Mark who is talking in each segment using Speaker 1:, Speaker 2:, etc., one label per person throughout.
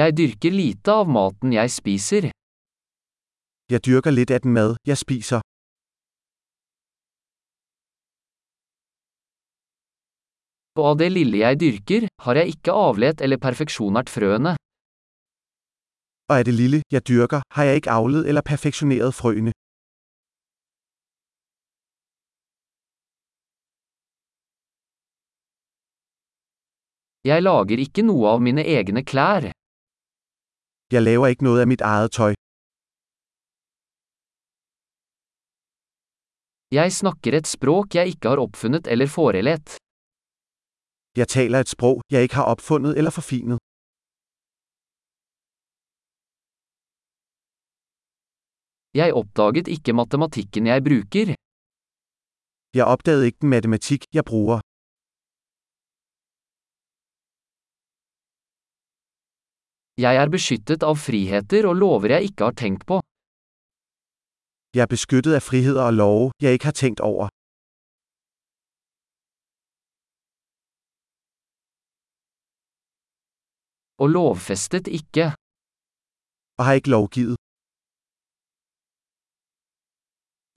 Speaker 1: Jeg dyrker lite av maten jeg spiser.
Speaker 2: Jeg dyrker lidt af den mad, jeg spiser.
Speaker 1: Og av det lille jeg dyrker, har jeg ikke avlet eller perfeksjonert frøene.
Speaker 2: Og af det lille, jeg dyrker, har jeg ikke avlet eller perfektioneret frøene.
Speaker 1: Jeg lager ikke noe av mine egne klær.
Speaker 2: Jeg laver ikke noget af mit eget tøj.
Speaker 1: Jeg snakker et språk jeg ikke har oppfunnet eller forelett.
Speaker 2: Jeg taler et sprog, jeg ikke har opfundet eller forfinet.
Speaker 1: Jeg oppdaget ikke matematikken jeg bruker.
Speaker 2: Jeg opdagede ikke den matematik, jeg bruger.
Speaker 1: Jeg er beskyttet av friheter og lover jeg ikke har tenkt på.
Speaker 2: Jeg er beskyttet af friheder og love, jeg ikke har tænkt over.
Speaker 1: Og lovfestet ikke.
Speaker 2: Og har ikke lovgivet.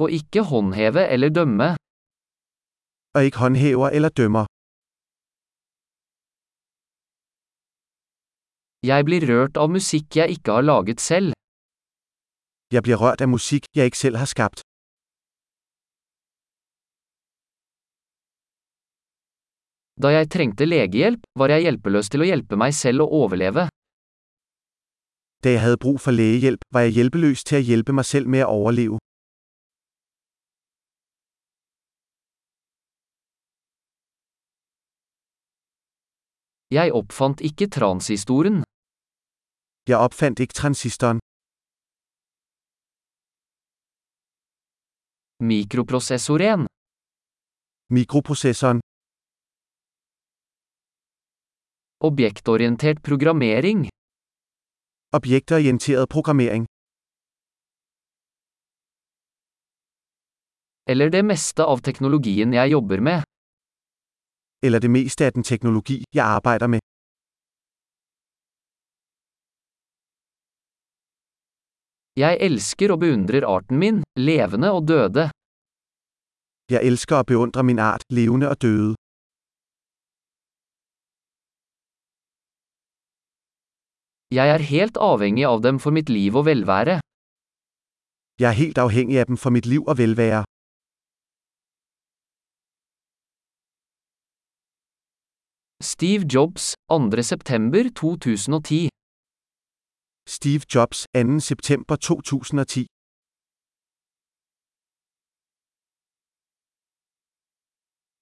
Speaker 1: Og ikke håndheve eller dømme.
Speaker 2: Og ikke håndhæver eller dømmer.
Speaker 1: Jeg blir rørt av musikk jeg ikke har laget selv.
Speaker 2: Jeg bliver rørt af musik, jeg ikke selv har skabt.
Speaker 1: Da jeg trengte legehjelp, var jeg hjelpeløs til å hjelpe meg selv å overleve.
Speaker 2: Da jeg havde brug for lægehjælp, var jeg hjælpeløs til at hjælpe mig selv med at overleve.
Speaker 1: Jeg oppfant ikke transhistoren.
Speaker 2: Jeg opfandt ikke transistoren.
Speaker 1: Mikroprosessoren.
Speaker 2: Mikroprocessoren.
Speaker 1: Objektorientert programmering.
Speaker 2: Objektorienteret programmering.
Speaker 1: Eller det meste av teknologien jeg jobber med.
Speaker 2: Eller det meste af den teknologi, jeg arbejder med.
Speaker 1: Jeg elsker og beundrer arten min, levende og døde.
Speaker 2: Jeg elsker og beundrer min art, levende og døde.
Speaker 1: Jeg er helt avhengig av dem for mitt liv og velvære.
Speaker 2: Jeg er helt afhængig af dem for mit liv og velvære.
Speaker 1: Steve Jobs, 2. september 2010.
Speaker 2: Steve Jobs, 2. september 2010